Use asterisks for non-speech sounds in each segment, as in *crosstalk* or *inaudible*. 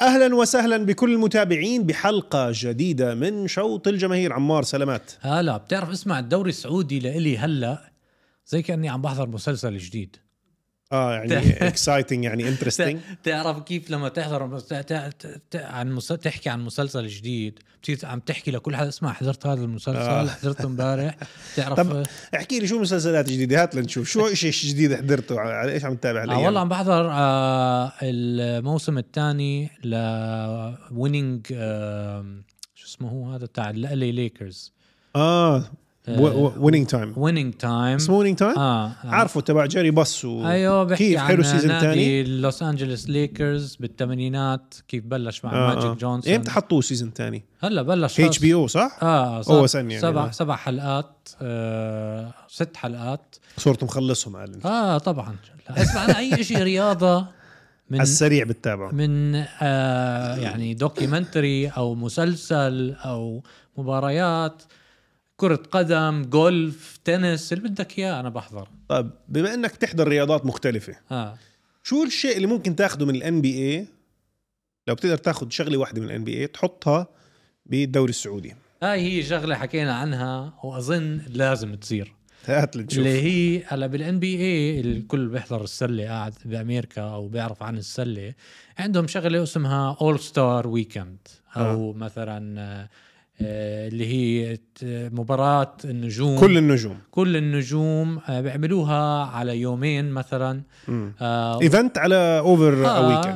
اهلا وسهلا بكل المتابعين بحلقه جديده من شوط الجماهير عمار سلامات هلا بتعرف اسمع الدوري السعودي لإلي هلا زي كاني عم بحضر مسلسل جديد اه *laughs* يعني اكسايتنج يعني انترستنج تعرف كيف لما تحضر مس- ت- ت- ت- عن مس- تحكي عن مسلسل جديد بتصير عم تحكي لكل حدا اسمع حضرت هذا آه. المسلسل حضرته *laughs* امبارح طب، تعرف آه، احكي لي شو مسلسلات جديده هات لنشوف شو شيء جديد حضرته على ايش عم تتابع آه هلا والله عم بحضر آه الموسم الثاني ل ويننج آه شو اسمه هو هذا تاع الاي ليكرز اه آه، ويننج تايم ويننج تايم اسمه ويننج تايم اه عارفه تبع جيري بس و... ايوه بحكي أيوة، كيف عن حلو السيزون الثاني نادي لوس انجلوس ليكرز بالثمانينات كيف بلش مع آه، ماجيك آه. جونسون امتى حطوه السيزون الثاني؟ هلا بلش اتش بي او صح؟ اه هو هو سن يعني، سبع آه. سبع حلقات آه ست حلقات صرت مخلصهم على الانت- اه طبعا لا، اسمع انا اي شيء رياضه على من السريع بتتابعه من آه يعني دوكيومنتري او مسلسل او مباريات كرة قدم، جولف، تنس، اللي بدك اياه انا بحضر. طب طيب، بما انك تحضر رياضات مختلفه اه شو الشيء اللي ممكن تاخده من الان بي اي لو بتقدر تاخد شغله واحده من الان بي اي تحطها بالدوري السعودي هاي هي شغلة حكينا عنها وأظن لازم تصير هات لنشوف اللي هي هلا بالان بي اي الكل بيحضر السلة قاعد بأمريكا أو بيعرف عن السلة عندهم شغلة اسمها أول ستار ويكند أو مثلا آه، آه، اللي هي ت- مباراة النجوم كل النجوم كل النجوم آه، بيعملوها على يومين مثلا مم. آه ايفنت على اوفر ويكند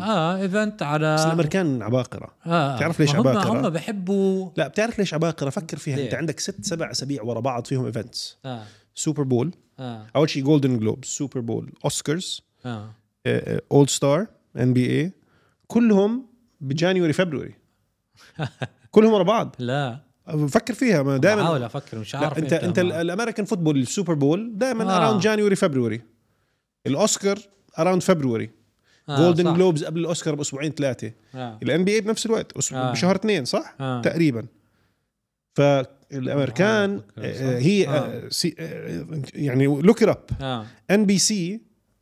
اه ايفنت على بس الامريكان عباقره آه بتعرف ليش عباقرة؟ هم بحبوا لا بتعرف ليش عباقره فكر فيها ليه؟ انت عندك ست سبع اسابيع ورا بعض فيهم ايفنتس اه سوبر بول اه اول شيء جولدن جلوب سوبر بول اوسكارز اه آه، اولد ستار ان بي اي كلهم بجانيوري *laughs* فبروري كلهم ورا بعض لا فكر فيها دائما بحاول افكر مش لا عارف انت إمتى انت هم- ال- الامريكان فوتبول السوبر بول دائما آه. اراوند جانيوري فبروري الاوسكار اراوند فبروري آه، جولدن صح. جلوبز قبل الاوسكار باسبوعين ثلاثه آه. الان بي اي بنفس الوقت أسبوع آه. بشهر اثنين صح آه. تقريبا فالامريكان آه، فكر، صح. آه، هي آه. آه، سي- آه، يعني لوك اب آه. ان بي سي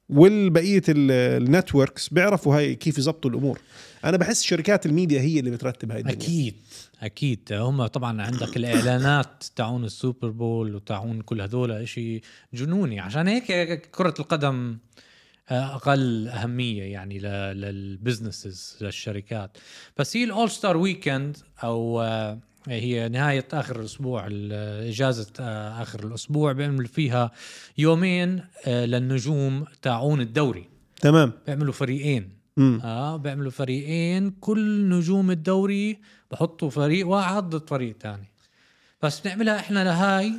والبقيه النتوركس بيعرفوا هاي كيف يزبطوا الامور انا بحس شركات الميديا هي اللي بترتب هاي الدنيا اكيد اكيد هم طبعا عندك الاعلانات تاعون السوبر بول وتاعون كل هدول إشي جنوني عشان هيك كره القدم اقل اهميه يعني للبزنسز للشركات بس هي الاول ستار ويكند او آه، هي نهاية آخر الأسبوع ال- إجازة آه، آخر الأسبوع بيعملوا فيها يومين آه، للنجوم تاعون الدوري تمام بيعملوا فريقين مم. اه بيعملوا فريقين كل نجوم الدوري بحطوا فريق واحد ضد فريق ثاني بس بنعملها احنا لهاي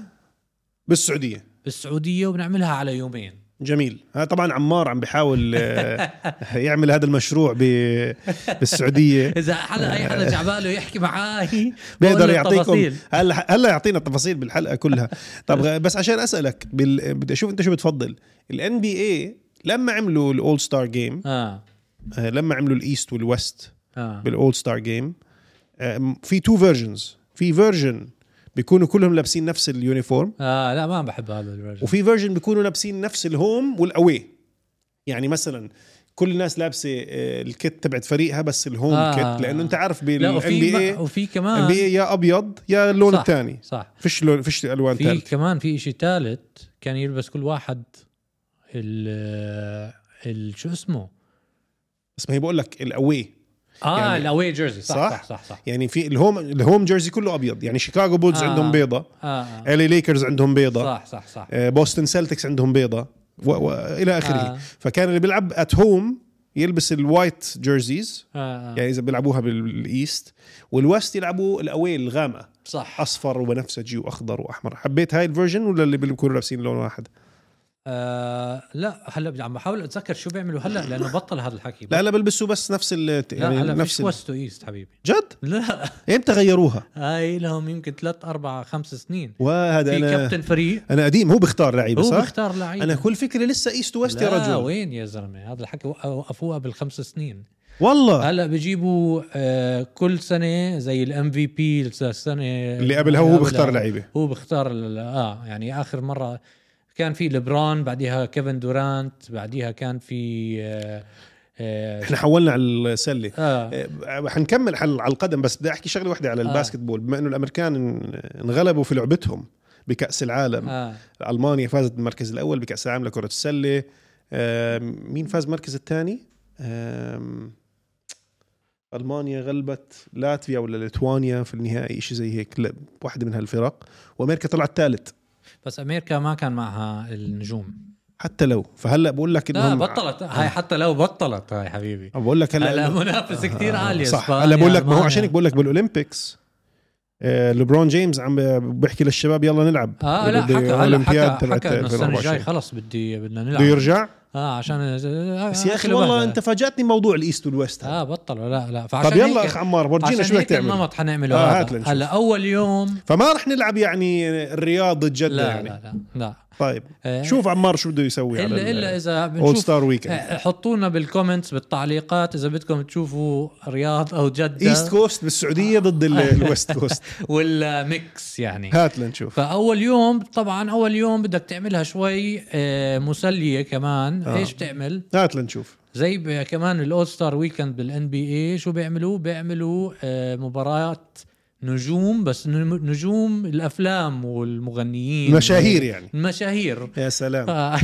بالسعوديه بالسعوديه وبنعملها على يومين جميل ها طبعا عمار عم بحاول *laughs* آه، يعمل هذا المشروع ب- *laughs* بالسعوديه اذا حدا اي *laughs* حدا جعباله يحكي معاي بقول بيقدر له يعطيكم التفاصيل. هلا هلا يعطينا التفاصيل بالحلقه كلها طب *laughs* غ- بس عشان اسالك بال... بدي اشوف انت شو بتفضل الان بي اي لما عملوا الاول ستار جيم اه آه، لما عملوا الايست والويست اه بالاول ستار جيم آه، في تو فيرجنز في فيرجن بيكونوا كلهم لابسين نفس اليونيفورم اه لا ما بحب هذا الرجل وفي فيرجن بيكونوا لابسين نفس الهوم والاوي يعني مثلا كل الناس لابسه آه، الكت تبعت فريقها بس الهوم آه آه. كت لانه انت عارف لا بالان وفي بي اي ما- وفي ان كمان بي اي يا ابيض يا اللون صح، الثاني صح فيش لون فيش الوان في ثالث كمان في شيء ثالث كان يلبس كل واحد ال ال شو اسمه بس ما هي بقول لك الاوي اه يعني- يعني الاوي جيرزي صح صح؟ صح صح, صح, صح. يعني في الهوم الهوم جيرسي كله ابيض يعني شيكاغو بولز آه. عندهم بيضه آه آه. الي ليكرز عندهم بيضه صح صح صح آه، بوسطن سيلتكس عندهم بيضه و- والى اخره آه. فكان اللي بيلعب ات هوم يلبس الوايت جيرزيز آه آه. يعني اذا بيلعبوها بالايست والويست يلعبوا الاوي الغامقه صح اصفر وبنفسجي واخضر واحمر حبيت هاي الفيرجن ولا اللي بيكونوا لابسين لون واحد آه لا هلا عم بحاول اتذكر شو بيعملوا هلا لانه بطل هذا الحكي لا لا بلبسوا بس نفس ال لا يعني هلا نفس مش ال... ويست ايست حبيبي جد لا امتى غيروها هاي لهم يمكن ثلاث اربع خمس سنين وهذا في انا كابتن فريق انا قديم هو بيختار لعيبه هو أيوة، صح بيختار لعيبه انا كل فكري لسه ايست ويست يا لا رجل وين يا زلمه هذا الحكي وق- وقفوها بالخمس سنين والله هلا بيجيبوا آه كل سنه زي الام في بي السنه اللي قبلها هو بيختار لعيبه هو بيختار ال- اه يعني اخر مره كان في لبران بعديها كيفن دورانت بعديها كان في آه آه، احنا حولنا على السله آه. آه، حنكمل على على القدم بس بدي احكي شغله واحده على الباسكت بول بما انه الامريكان ان- انغلبوا في لعبتهم بكاس العالم آه. المانيا فازت بالمركز الاول بكاس العالم لكره السله آم، مين فاز المركز الثاني المانيا غلبت لاتفيا ولا ليتوانيا في النهائي شيء زي هيك لا واحده من هالفرق وامريكا طلعت ثالث بس امريكا ما كان معها النجوم حتى لو فهلا بقول لك لا انهم بطلت آه. هاي حتى لو بطلت هاي حبيبي بقول لك هلا *laughs* هلا منافسه كثير عاليه آه، صح إسبانيا، هلا بقول لك ما هو ألمانيا. عشانك بقول لك بالاولمبيكس آه، ليبرون جيمس عم ب- بيحكي للشباب يلا نلعب اه لا بده حكى هلا أولمبياد حكى تبعت حكى انه السنه 2024. الجاي خلص بدي بدنا بده نلعب يرجع اه عشان آه، بس يا اخي أكله والله بهلة. انت فاجأتني موضوع الايست والويست هذا اه بطلوا لا لا فعشان طب يلا هيك- اخ عمار ورجينا عشان شو بدك هيك تعمل النمط حنعمله آه، هذا. هات لنشوف. هلا اول يوم فما رح نلعب يعني الرياض لا جدة لا يعني لا لا طيب آه، شوف عمار شو بده يسوي الا الا على اذا اول بنشوف ستار ويكند آه، حطوا لنا بالكومنتس بالتعليقات اذا بدكم تشوفوا رياض او جده ايست كوست بالسعودية ضد *laughs* ال- آه. الويست كوست ولا ميكس يعني هات لنشوف فاول يوم طبعا اول يوم بدك تعملها شوي آه، مسليه كمان آه. ايش بتعمل هات لنشوف زي ب- كمان الاول ستار ويكند بالان بي اي شو بيعملوا بيعملوا آه، مباريات نجوم بس نم- نجوم الافلام والمغنيين مشاهير يعني المشاهير يا سلام ف-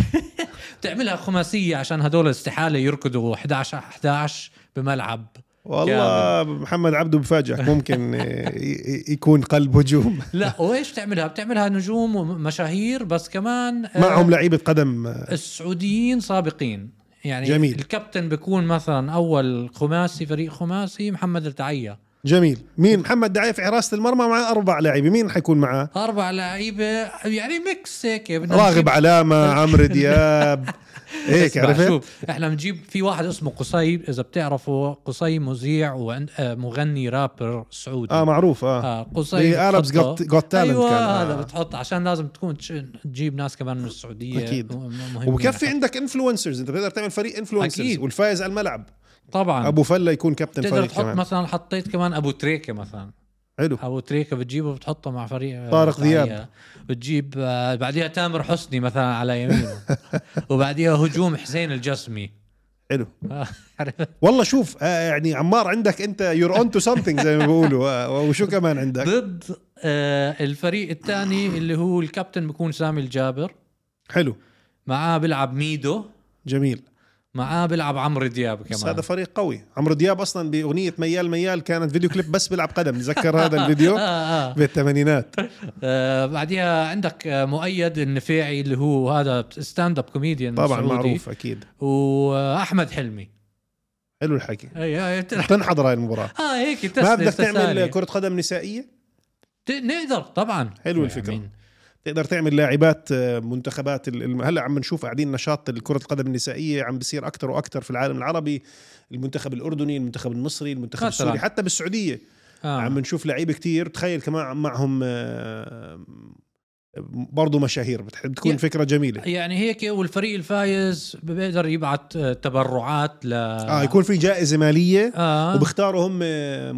*laughs* بتعملها خماسيه عشان هدول استحاله يركضوا 11 11 بملعب والله محمد عبده *laughs* بفاجئك ممكن آه، ي- يكون قلب هجوم لا وايش بتعملها بتعملها نجوم ومشاهير بس كمان آه، معهم لعيبه قدم السعوديين سابقين يعني جميل. الكابتن بيكون مثلا اول خماسي فريق خماسي محمد التعيه جميل مين محمد دعيف حراسه المرمى مع اربع لعيبه مين حيكون معاه اربع لعيبه يعني ميكس هيك بدنا نجيب- راغب علامه عمرو *laughs* دياب هيك اسمع، عرفت شوف احنا بنجيب في واحد اسمه قصي اذا بتعرفوا قصي مذيع ومغني رابر سعودي اه معروف اه, آه قصي باربس بتحطه- جوت تالنت ايوه كان هذا آه. بتحط عشان لازم تكون تش- تجيب ناس كمان من السعوديه أكيد. م- مهمين. وبكفي عندك انفلونسرز انت بتقدر تعمل فريق انفلونسرز طيب، أكيد. والفايز على الملعب طبعا ابو فله يكون كابتن بتقدر فريق تحط كمان مثلا حطيت كمان ابو تريكه مثلا حلو ابو تريكه بتجيبه بتحطه مع فريق طارق الدفاعية. ذياب. بتجيب آه، بعديها تامر حسني مثلا على *laughs* يمينه وبعديها هجوم حسين الجسمي حلو آه، عرفت؟ والله شوف آه يعني عمار عندك انت يور اون تو سمثينج زي ما بيقولوا آه وشو كمان عندك ضد آه، الفريق الثاني اللي هو الكابتن بيكون سامي الجابر حلو معاه بيلعب ميدو جميل معاه بيلعب عمرو دياب بس كمان هذا فريق قوي عمرو دياب اصلا باغنيه ميال ميال كانت فيديو كليب بس بيلعب قدم نتذكر هذا الفيديو *laughs* آه آه. بالثمانينات آه بعديها عندك آه، مؤيد النفيعي اللي هو هذا ستاند اب كوميديان طبعا معروف اكيد واحمد حلمي حلو الحكي اي اي تلعب- تنحضر هاي المباراه اه هيك ما تسلية بدك تعمل تسالي. كره قدم نسائيه ت- نقدر طبعا حلو يعني الفكرة. مين؟ تقدر تعمل لاعبات آه، منتخبات ال- الم- هلا عم نشوف قاعدين نشاط كره القدم النسائيه عم بيصير اكثر واكثر في العالم العربي المنتخب الاردني المنتخب المصري المنتخب مثلاً. السوري حتى بالسعوديه آه. عم نشوف لعيبه كتير تخيل كمان معهم آه، برضو مشاهير بتح- بتكون يا- فكره جميله يعني هيك والفريق الفايز بيقدر يبعت آه، تبرعات ل اه يكون في جائزه ماليه آه وبختاروا هم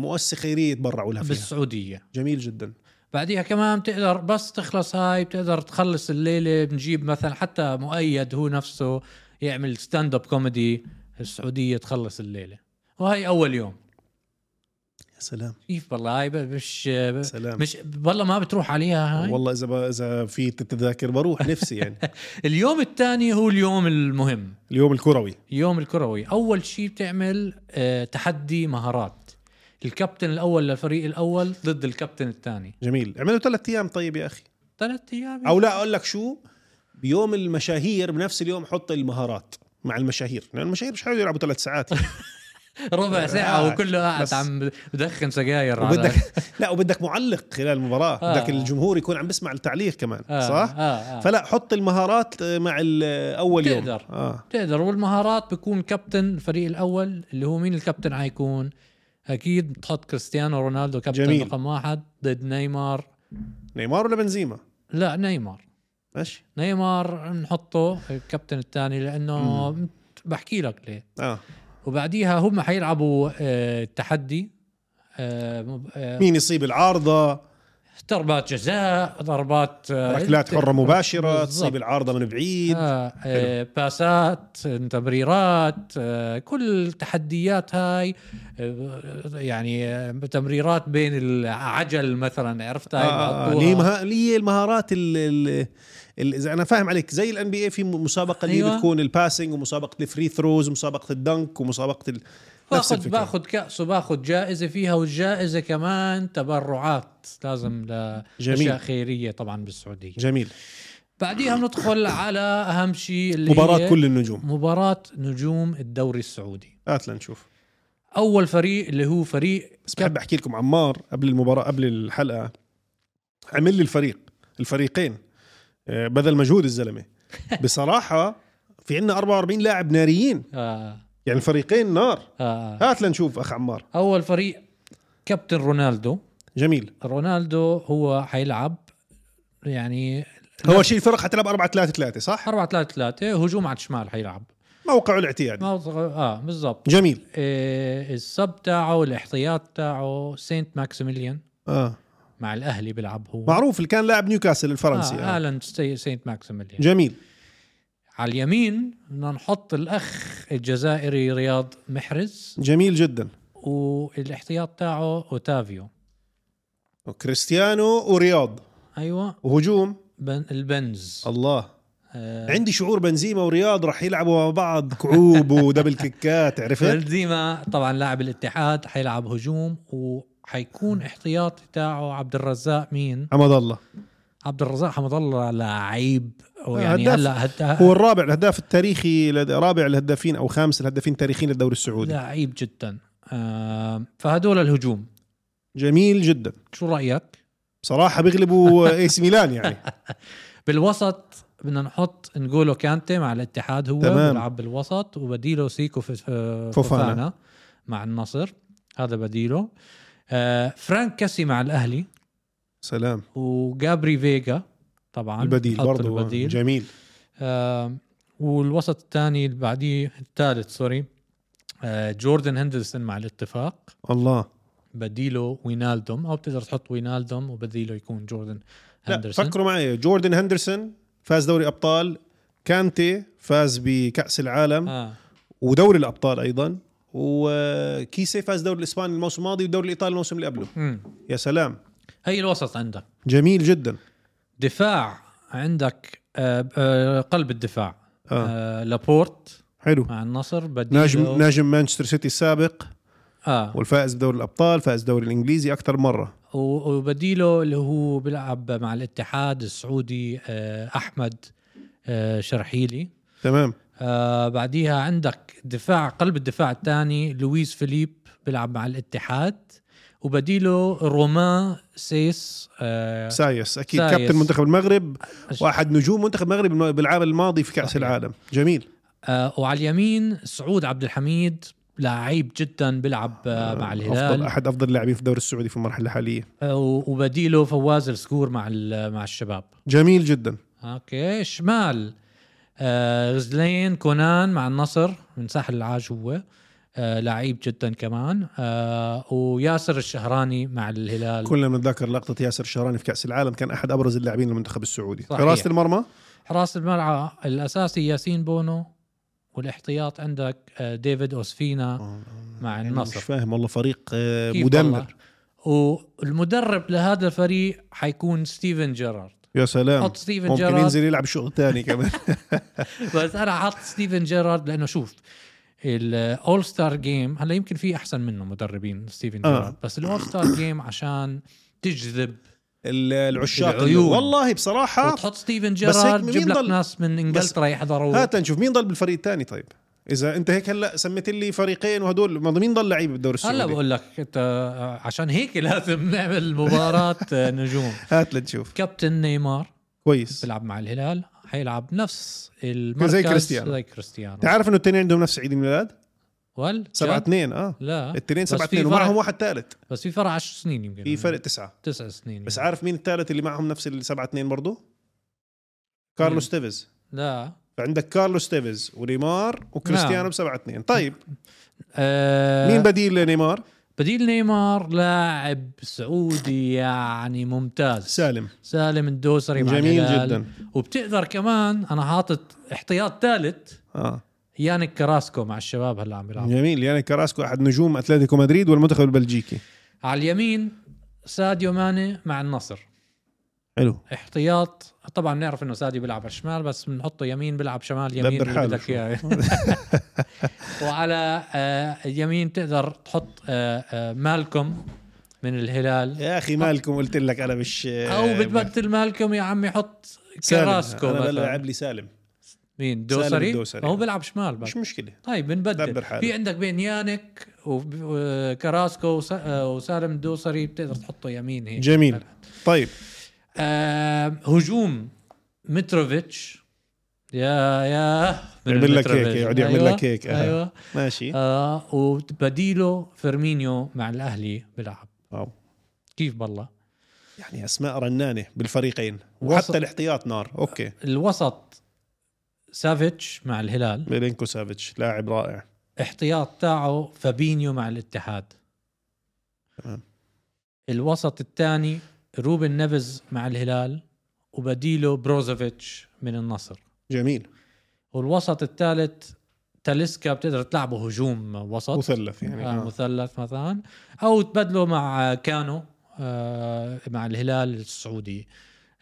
مؤسسه خيريه يتبرعوا لها فيها بالسعوديه جميل جدا بعديها كمان بتقدر بس تخلص هاي بتقدر تخلص الليله بنجيب مثلا حتى مؤيد هو نفسه يعمل ستاند اب كوميدي السعوديه تخلص الليله وهي اول يوم يا سلام كيف والله هاي ب- مش سلام مش والله ما بتروح عليها هاي والله اذا ب... اذا في تذاكر بروح نفسي يعني *laughs* اليوم الثاني هو اليوم المهم اليوم الكروي يوم الكروي اول شيء بتعمل آه، تحدي مهارات الكابتن الاول للفريق الاول ضد الكابتن الثاني جميل اعملوا ثلاث ايام طيب يا اخي ثلاث ايام او لا اقول لك شو بيوم المشاهير بنفس اليوم حط المهارات مع المشاهير لان يعني المشاهير مش حيقعدوا يلعبوا ثلاث *laughs* ساعات آه. يعني. ربع ساعه آه، وكله قاعد بس- عم بدخن سجاير على- وبدك لا وبدك معلق خلال المباراه آه. بدك الجمهور يكون عم بيسمع التعليق كمان آه، صح آه آه. فلا حط المهارات آه، مع ال- اول يوم تقدر. اه بتقدر والمهارات بيكون كابتن الفريق الاول اللي هو مين الكابتن حيكون اكيد بتحط كريستيانو رونالدو كابتن جميل. رقم واحد ضد نيمار نيمار ولا بنزيما لا نيمار ماشي نيمار نحطه الكابتن الثاني لانه بحكي لك ليه اه وبعديها هم حيلعبوا آه، التحدي آه، مب- آه، مين يصيب العارضه ضربات جزاء ضربات آه، ركلات حره مباشره بالضبط. تصيب العارضه من بعيد آه، آه، باسات آه، تمريرات آه، كل التحديات هاي آه، يعني آه، تمريرات بين العجل مثلا عرفت هاي آه، بحطوها. ليه مها... ليه المهارات ال- ال- ال- اذا انا فاهم عليك زي الان بي اي في م- مسابقه اللي أيوة. بتكون الباسنج ومسابقه الفري ثروز ومسابقه الدنك ومسابقه ال... نفس باخذ الفكره باخذ كاس وباخذ جائزه فيها والجائزه كمان تبرعات لازم لاشياء جميل. خيريه طبعا بالسعوديه جميل بعديها بندخل على اهم شيء اللي مباراه هي كل النجوم مباراه نجوم الدوري السعودي هات لنشوف اول فريق اللي هو فريق بس بحب احكي لكم عمار قبل المباراه قبل الحلقه عمل لي الفريق الفريقين آه، بذل مجهود *laughs* الزلمه بصراحه في عندنا 44 لاعب ناريين آه يعني الفريقين نار آه هات لنشوف اخ عمار اول فريق كابتن رونالدو جميل رونالدو هو حيلعب يعني هو شيء الفرق حتلعب 4 3 3 صح 4 3 3 هجوم على الشمال حيلعب موقعه الاعتيادي ما- اه بالضبط جميل إيه السب تاعه الاحتياط تاعه سينت ماكسيميليان اه مع الاهلي بيلعب هو معروف اللي كان لاعب نيوكاسل الفرنسي آه آه. آلان سي- سينت ماكسيميليان جميل على اليمين بدنا نحط الاخ الجزائري رياض محرز جميل جدا والاحتياط تاعه اوتافيو كريستيانو ورياض ايوه وهجوم بن البنز الله آه، عندي شعور بنزيما ورياض رح يلعبوا مع بعض كعوب ودبل كيكات *laughs* عرفت بنزيما طبعا لاعب الاتحاد حيلعب هجوم وحيكون احتياطي تاعه عبد الرزاق مين؟ حمد الله عبد الرزاق حمد الله لعيب ويعني هداف. هلا هد... هو الرابع الهداف التاريخي لد- رابع الهدافين او خامس الهدافين التاريخيين للدوري السعودي لعيب جدا آه، فهدول الهجوم جميل جدا شو رايك؟ بصراحه *laughs* بيغلبوا اي سي ميلان يعني بالوسط بدنا نحط نقوله كانتي مع الاتحاد هو تمام. بيلعب بالوسط وبديله سيكو ف- آه، فوفانا. فوفانا مع النصر هذا بديله آه، فرانك كاسي مع الاهلي سلام وجابري فيجا طبعا البديل حط برضه البديل جميل آم، والوسط الثاني اللي بعديه الثالث سوري آه، جوردن هندرسون مع الاتفاق الله بديله وينالدوم او بتقدر تحط وينالدوم وبديله يكون جوردن لا هندرسون فكروا معي جوردن هندرسون فاز دوري ابطال كانتي فاز بكاس العالم آه. ودوري الابطال ايضا وكيسي فاز دوري الاسباني الموسم الماضي والدوري الايطالي الموسم اللي قبله مم. يا سلام هي الوسط عندك جميل جدا دفاع عندك آه، آه، قلب الدفاع آه. آه، لابورت حلو مع النصر بديله ناجم ناجم مانشستر سيتي السابق اه والفائز بدوري الابطال فائز دوري الانجليزي اكثر مره و- وبديله اللي هو بيلعب مع الاتحاد السعودي آه، احمد آه، شرحيلي تمام آه بعديها عندك دفاع قلب الدفاع الثاني لويس فيليب بيلعب مع الاتحاد وبديله رومان سيس آه سايس اكيد سايس. كابتن منتخب المغرب أش- واحد نجوم منتخب المغرب الم- بالعام الماضي في كاس صحيح. العالم جميل آه وعلى اليمين سعود عبد الحميد لعيب جدا بيلعب آه مع افضل الهلال احد افضل اللاعبين في الدوري السعودي في المرحله الحاليه آه و- وبديله فواز السكور مع ال- مع الشباب جميل جدا اوكي شمال آه غزلين كونان مع النصر من ساحل العاج هو آه لعيب جدا كمان آه وياسر الشهراني مع الهلال كلنا بنتذكر لقطه ياسر الشهراني في كاس العالم كان احد ابرز اللاعبين للمنتخب السعودي صحيح. حراسه المرمى حراس المرعى الاساسي ياسين بونو والاحتياط عندك آه، ديفيد اوسفينا مع يعني مش آه، النصر فاهم والله فريق آه، كيف مدمر والله؟ والمدرب لهذا الفريق حيكون ستيفن جيرارد يا سلام حط ستيفن ممكن جيرارد ينزل يلعب شغل *laughs* ثاني كمان بس انا حاط ستيفن جيرارد لانه شوف الاول ستار جيم هلا يمكن في احسن منه مدربين ستيفن آه. جيرارد بس الاول ستار جيم عشان تجذب ال- العشاق العيون. والله بصراحه وتحط ستيفن آه. بس هيك آه، جيرارد مين جيب لك ضل؟ ناس من انجلترا يحضروا هات نشوف مين ضل بالفريق الثاني طيب اذا انت هيك هلا سميت لي فريقين وهدول ما- مين ضل لعيب بالدوري هلا السعودي بقول لك انت عشان هيك لازم نعمل مباراه نجوم هات لنشوف كابتن نيمار كويس بيلعب مع الهلال حيلعب نفس المركز زي كريستيانو. يعني زي كريستيانو تعرف انه الاثنين عندهم نفس عيد الميلاد وال 7 جد؟ 2 اه لا الاثنين بس 7 في 2 فرق- ومعهم واحد ثالث بس في فرق 10 سنين يمكن في فرق تسعه تسع سنين بس يعني. عارف مين الثالث اللي معهم نفس ال 7 2 برضه كارلوس تيفيز لا فعندك كارلوس تيفيز ونيمار وكريستيانو نعم. ب 7 2 طيب آه مين بديل نيمار بديل نيمار لاعب سعودي يعني ممتاز سالم سالم الدوسري مع جميل الهلال. جدا وبتقدر كمان انا حاطط احتياط ثالث اه يانك كراسكو مع الشباب هلا عم بيلعب جميل يعني كراسكو احد نجوم اتلتيكو مدريد والمنتخب البلجيكي على اليمين ساديو ماني مع النصر حلو احتياط طبعا نعرف انه ساديو بيلعب على الشمال بس بنحطه يمين بيلعب شمال يمين دبر حاله اللي بدك شو. *laughs* اياه وعلى آه، اليمين تقدر تحط آه، آه، مالكم من الهلال يا اخي مالكم قلت لك انا مش آه، او بتبدل مالكم يا عمي حط سالم. كراسكو انا مثلا بلعب لي سالم مين سالم دوسري الدوسري. هو بيلعب شمال بقى. مش مشكله طيب دبر بنبدل حالك. في عندك بين يانك وب- وكراسكو وس- آه، وسالم الدوسري بتقدر تحطه يمين هيك جميل طيب آه هجوم متروفيتش يا يا من يعمل لك متروفيتش. هيك، يقعد يعمل أيوة، لك هيك، آه. ايوه ماشي آه وبديله فيرمينيو مع الاهلي بيلعب واو كيف بالله يعني اسماء رنانه بالفريقين وسط. وحتى الاحتياط نار اوكي الوسط سافيتش مع الهلال ميلينكو سافيتش لاعب رائع احتياط تاعه فابينيو مع الاتحاد تمام. الوسط الثاني روبن نيفز مع الهلال وبديله بروزوفيتش من النصر جميل والوسط الثالث تاليسكا بتقدر تلعبه هجوم وسط مثلث يعني آه آه. مثلث مثلا او تبدله مع كانو آه مع الهلال السعودي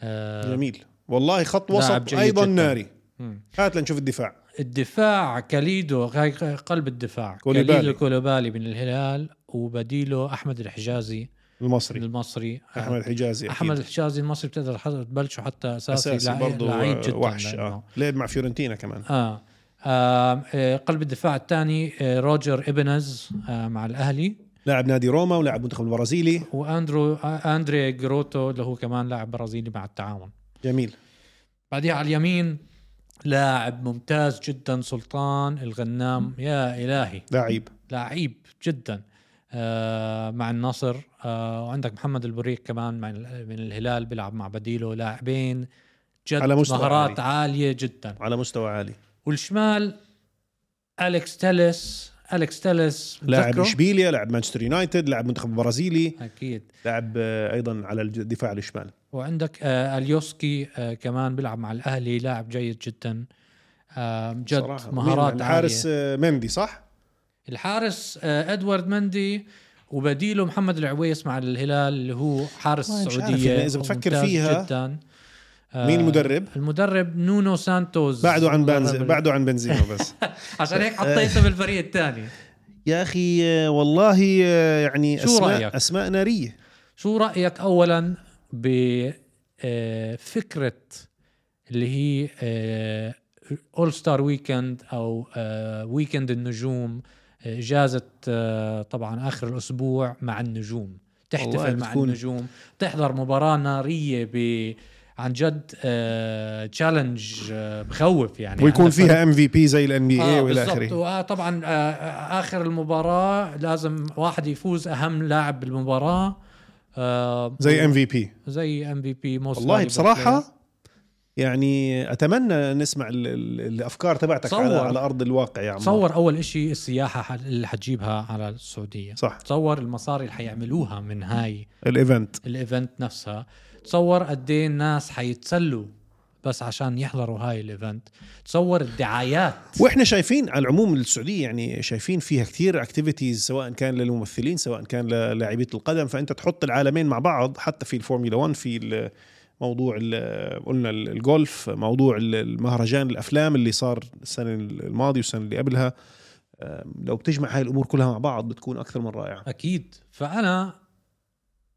آه جميل والله خط لاعب وسط جيد ايضا جداً. ناري مم. هات لنشوف الدفاع الدفاع كاليدو هاي قلب الدفاع كوليبالي. كاليدو كولوبالي من الهلال وبديله احمد الحجازي من المصري المصري آه، احمد حجازي أكيد. احمد الحجازي المصري بتقدر حط- تبلشه حتى اساسي, اساسي لع- برضه لعيب جدا آه، وحش لأنه- اه لعب مع فيورنتينا كمان آه. آه آه، قلب الدفاع الثاني آه روجر ابنز آه مع الاهلي لاعب نادي روما ولاعب منتخب البرازيلي واندرو آه اندري جروتو اللي هو كمان لاعب برازيلي مع التعاون جميل بعديها على اليمين لاعب ممتاز جدا سلطان الغنام يا الهي لعيب لعيب جدا آه مع النصر آه وعندك محمد البريق كمان مع ال- من الهلال بيلعب مع بديله لاعبين جد على مستوى مهارات عاليه جدا على مستوى عالي والشمال اليكس تيلس اليكس تيلس لاعب بتذكره؟ اشبيليا لاعب مانشستر يونايتد لاعب منتخب البرازيلي اكيد لاعب آه، ايضا على الج- الدفاع الشمال وعندك آه اليوسكي آه كمان بيلعب مع الاهلي لاعب جيد جدا آه جد صراحة. مهارات مين؟ عاليه الحارس آه، مندي صح الحارس آه ادوارد مندي وبديله محمد العويس مع الهلال اللي هو حارس والله مش عارف، السعوديه يعني إذا بتفكر ممتاز فيها، جدا آه، مين المدرب المدرب نونو سانتوز بعده عن آه. بنز المدرب- بعده عن بنزيما *laughs* بس عشان هيك حطيته بالفريق الثاني يا اخي آه، والله آه، يعني شو اسماء رأيك؟ اسماء ناريه شو رايك اولا بفكره آه، اللي هي آه، اول ستار ويكند او آه، ويكند النجوم آه، جازت آه، طبعا اخر الاسبوع مع النجوم والله تحتفل مع بتكون- النجوم تحضر مباراه ناريه ب عن جد آه، تشالنج بخوف يعني ويكون أنا فيها ام في بي زي الان بي اي آه والى بالضبط. اخره وطبعا آه، اخر المباراه لازم واحد يفوز اهم لاعب بالمباراه آه، زي ام في بي زي ام في بي موست والله valuable player. بصراحه يعني اتمنى نسمع ال- ال- الافكار تبعتك على, صور. على ارض الواقع يا عمار تصور اول شيء السياحه ح- اللي حتجيبها على السعوديه صح تصور المصاري اللي حيعملوها من هاي الايفنت الايفنت نفسها تصور قد ايه الناس حيتسلوا بس عشان يحضروا هاي الايفنت تصور الدعايات واحنا شايفين على العموم السعوديه يعني شايفين فيها كثير اكتيفيتيز سواء كان للممثلين سواء كان للاعبيه القدم فانت تحط العالمين مع بعض حتى في الفورمولا 1 في ال- موضوع ال- قلنا ال- الجولف موضوع ال- المهرجان الافلام اللي صار السنه الماضيه والسنه اللي قبلها أم، لو بتجمع هاي الامور كلها مع بعض بتكون اكثر من رائعه اكيد فانا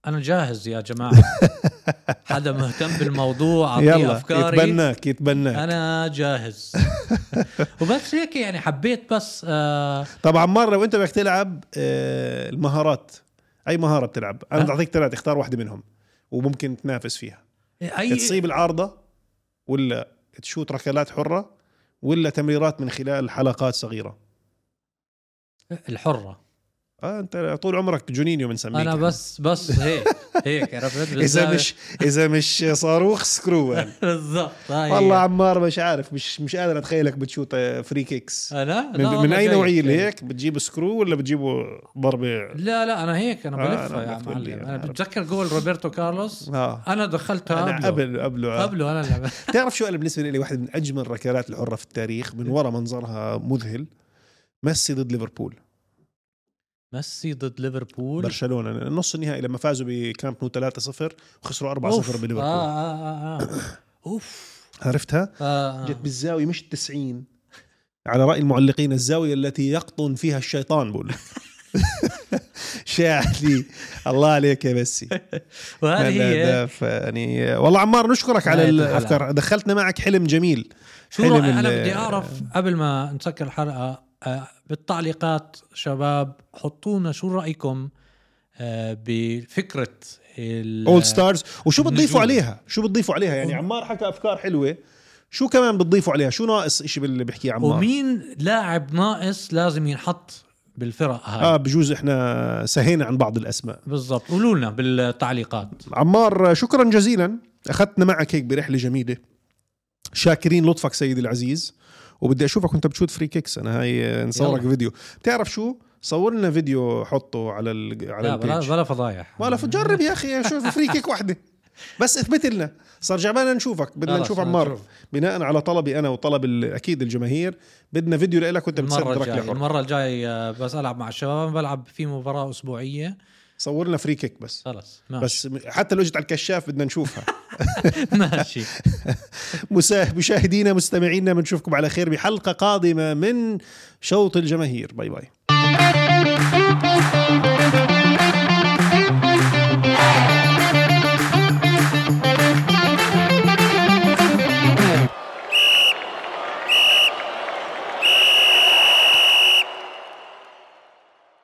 انا جاهز يا *laughs* جماعه حدا مهتم بالموضوع اعطيه يلا افكاري يتبناك يتبناك *laughs* انا جاهز وبس هيك يعني حبيت بس آه طبعا مره وانت بدك تلعب آه، المهارات اي مهاره بتلعب انا أه. بدي اعطيك ثلاث اختار واحده منهم وممكن تنافس فيها اي تصيب العارضه ولا تشوت ركلات حره ولا تمريرات من خلال حلقات صغيره الحره آه انت طول عمرك جونينيو بنسميك انا إحنا. بس بس هيك *laughs* هيك عرفت اذا بالذات- يعني. مش اذا مش صاروخ *laughs* سكرو أيوة. بالضبط هاي والله هي. عمار مش عارف مش مش قادر اتخيلك بتشوت آه، فري كيكس آه، لا من, لا من والله اي جاي. نوعيه اللي هيك بتجيبه سكرو ولا بتجيبه آه. ضربه لا لا انا هيك انا آه، بلفها أنا يا بدك تقول لي، معلم أنا انا عارف. بتذكر جول روبرتو كارلوس اه انا دخلتها انا قبل قبله آه. قبله انا اللي بتعرف شو انا بالنسبه لي واحد من اجمل الركلات الحره في التاريخ إيه. من ورا منظرها مذهل ميسي ضد ليفربول ميسي ضد ليفربول برشلونه نص النهائي لما فازوا بكامب نو 3-0 وخسروا 4-0 أوف. بليفربول آه *coughs* آه آه آه. اوف عرفتها؟ آه، آه. جت بالزاويه مش 90 على راي المعلقين الزاويه التي يقطن فيها الشيطان بقول *laughs* لك. شاعلي الله عليك يا بسي وهذه هي ده يعني والله عمار نشكرك على نهاية الافكار دخلتنا معك حلم جميل شو حلم رأي انا ال- بدي اعرف قبل ما نسكر الحلقه آه، بالتعليقات شباب حطوا لنا شو رايكم آه، بفكره اول ستارز وشو النجوم. بتضيفوا عليها شو بتضيفوا عليها يعني عمار حكى افكار حلوه شو كمان بتضيفوا عليها شو ناقص إشي باللي بيحكيه عمار ومين لاعب ناقص لازم ينحط بالفرق هاي اه بجوز احنا سهينا عن بعض الاسماء بالضبط قولوا لنا بالتعليقات عمار شكرا جزيلا اخذتنا معك هيك برحله جميله شاكرين لطفك سيدي العزيز وبدي اشوفك وانت بتشوت فري كيكس انا هاي نصورك يلا. فيديو بتعرف شو صور لنا فيديو حطه على ال... على لا بلا البيج بلا فضايح ولا جرب يا اخي شوف فري كيك وحده بس اثبت لنا صار جعبانا نشوفك بدنا خلص، نشوف بدنا عمار نشوف. بناء على طلبي انا وطلب ال- اكيد الجماهير بدنا فيديو لك وانت المرة بتسدرك الجاية لحر المرة الجاية بس ألعب مع الشباب بلعب في مباراة أسبوعية صور لنا فري كيك بس خلص ماشي بس حتى لو اجت على الكشاف بدنا نشوفها ماشي مسا- مشاهدينا مستمعينا بنشوفكم على خير بحلقة قادمة من شوط الجماهير باي باي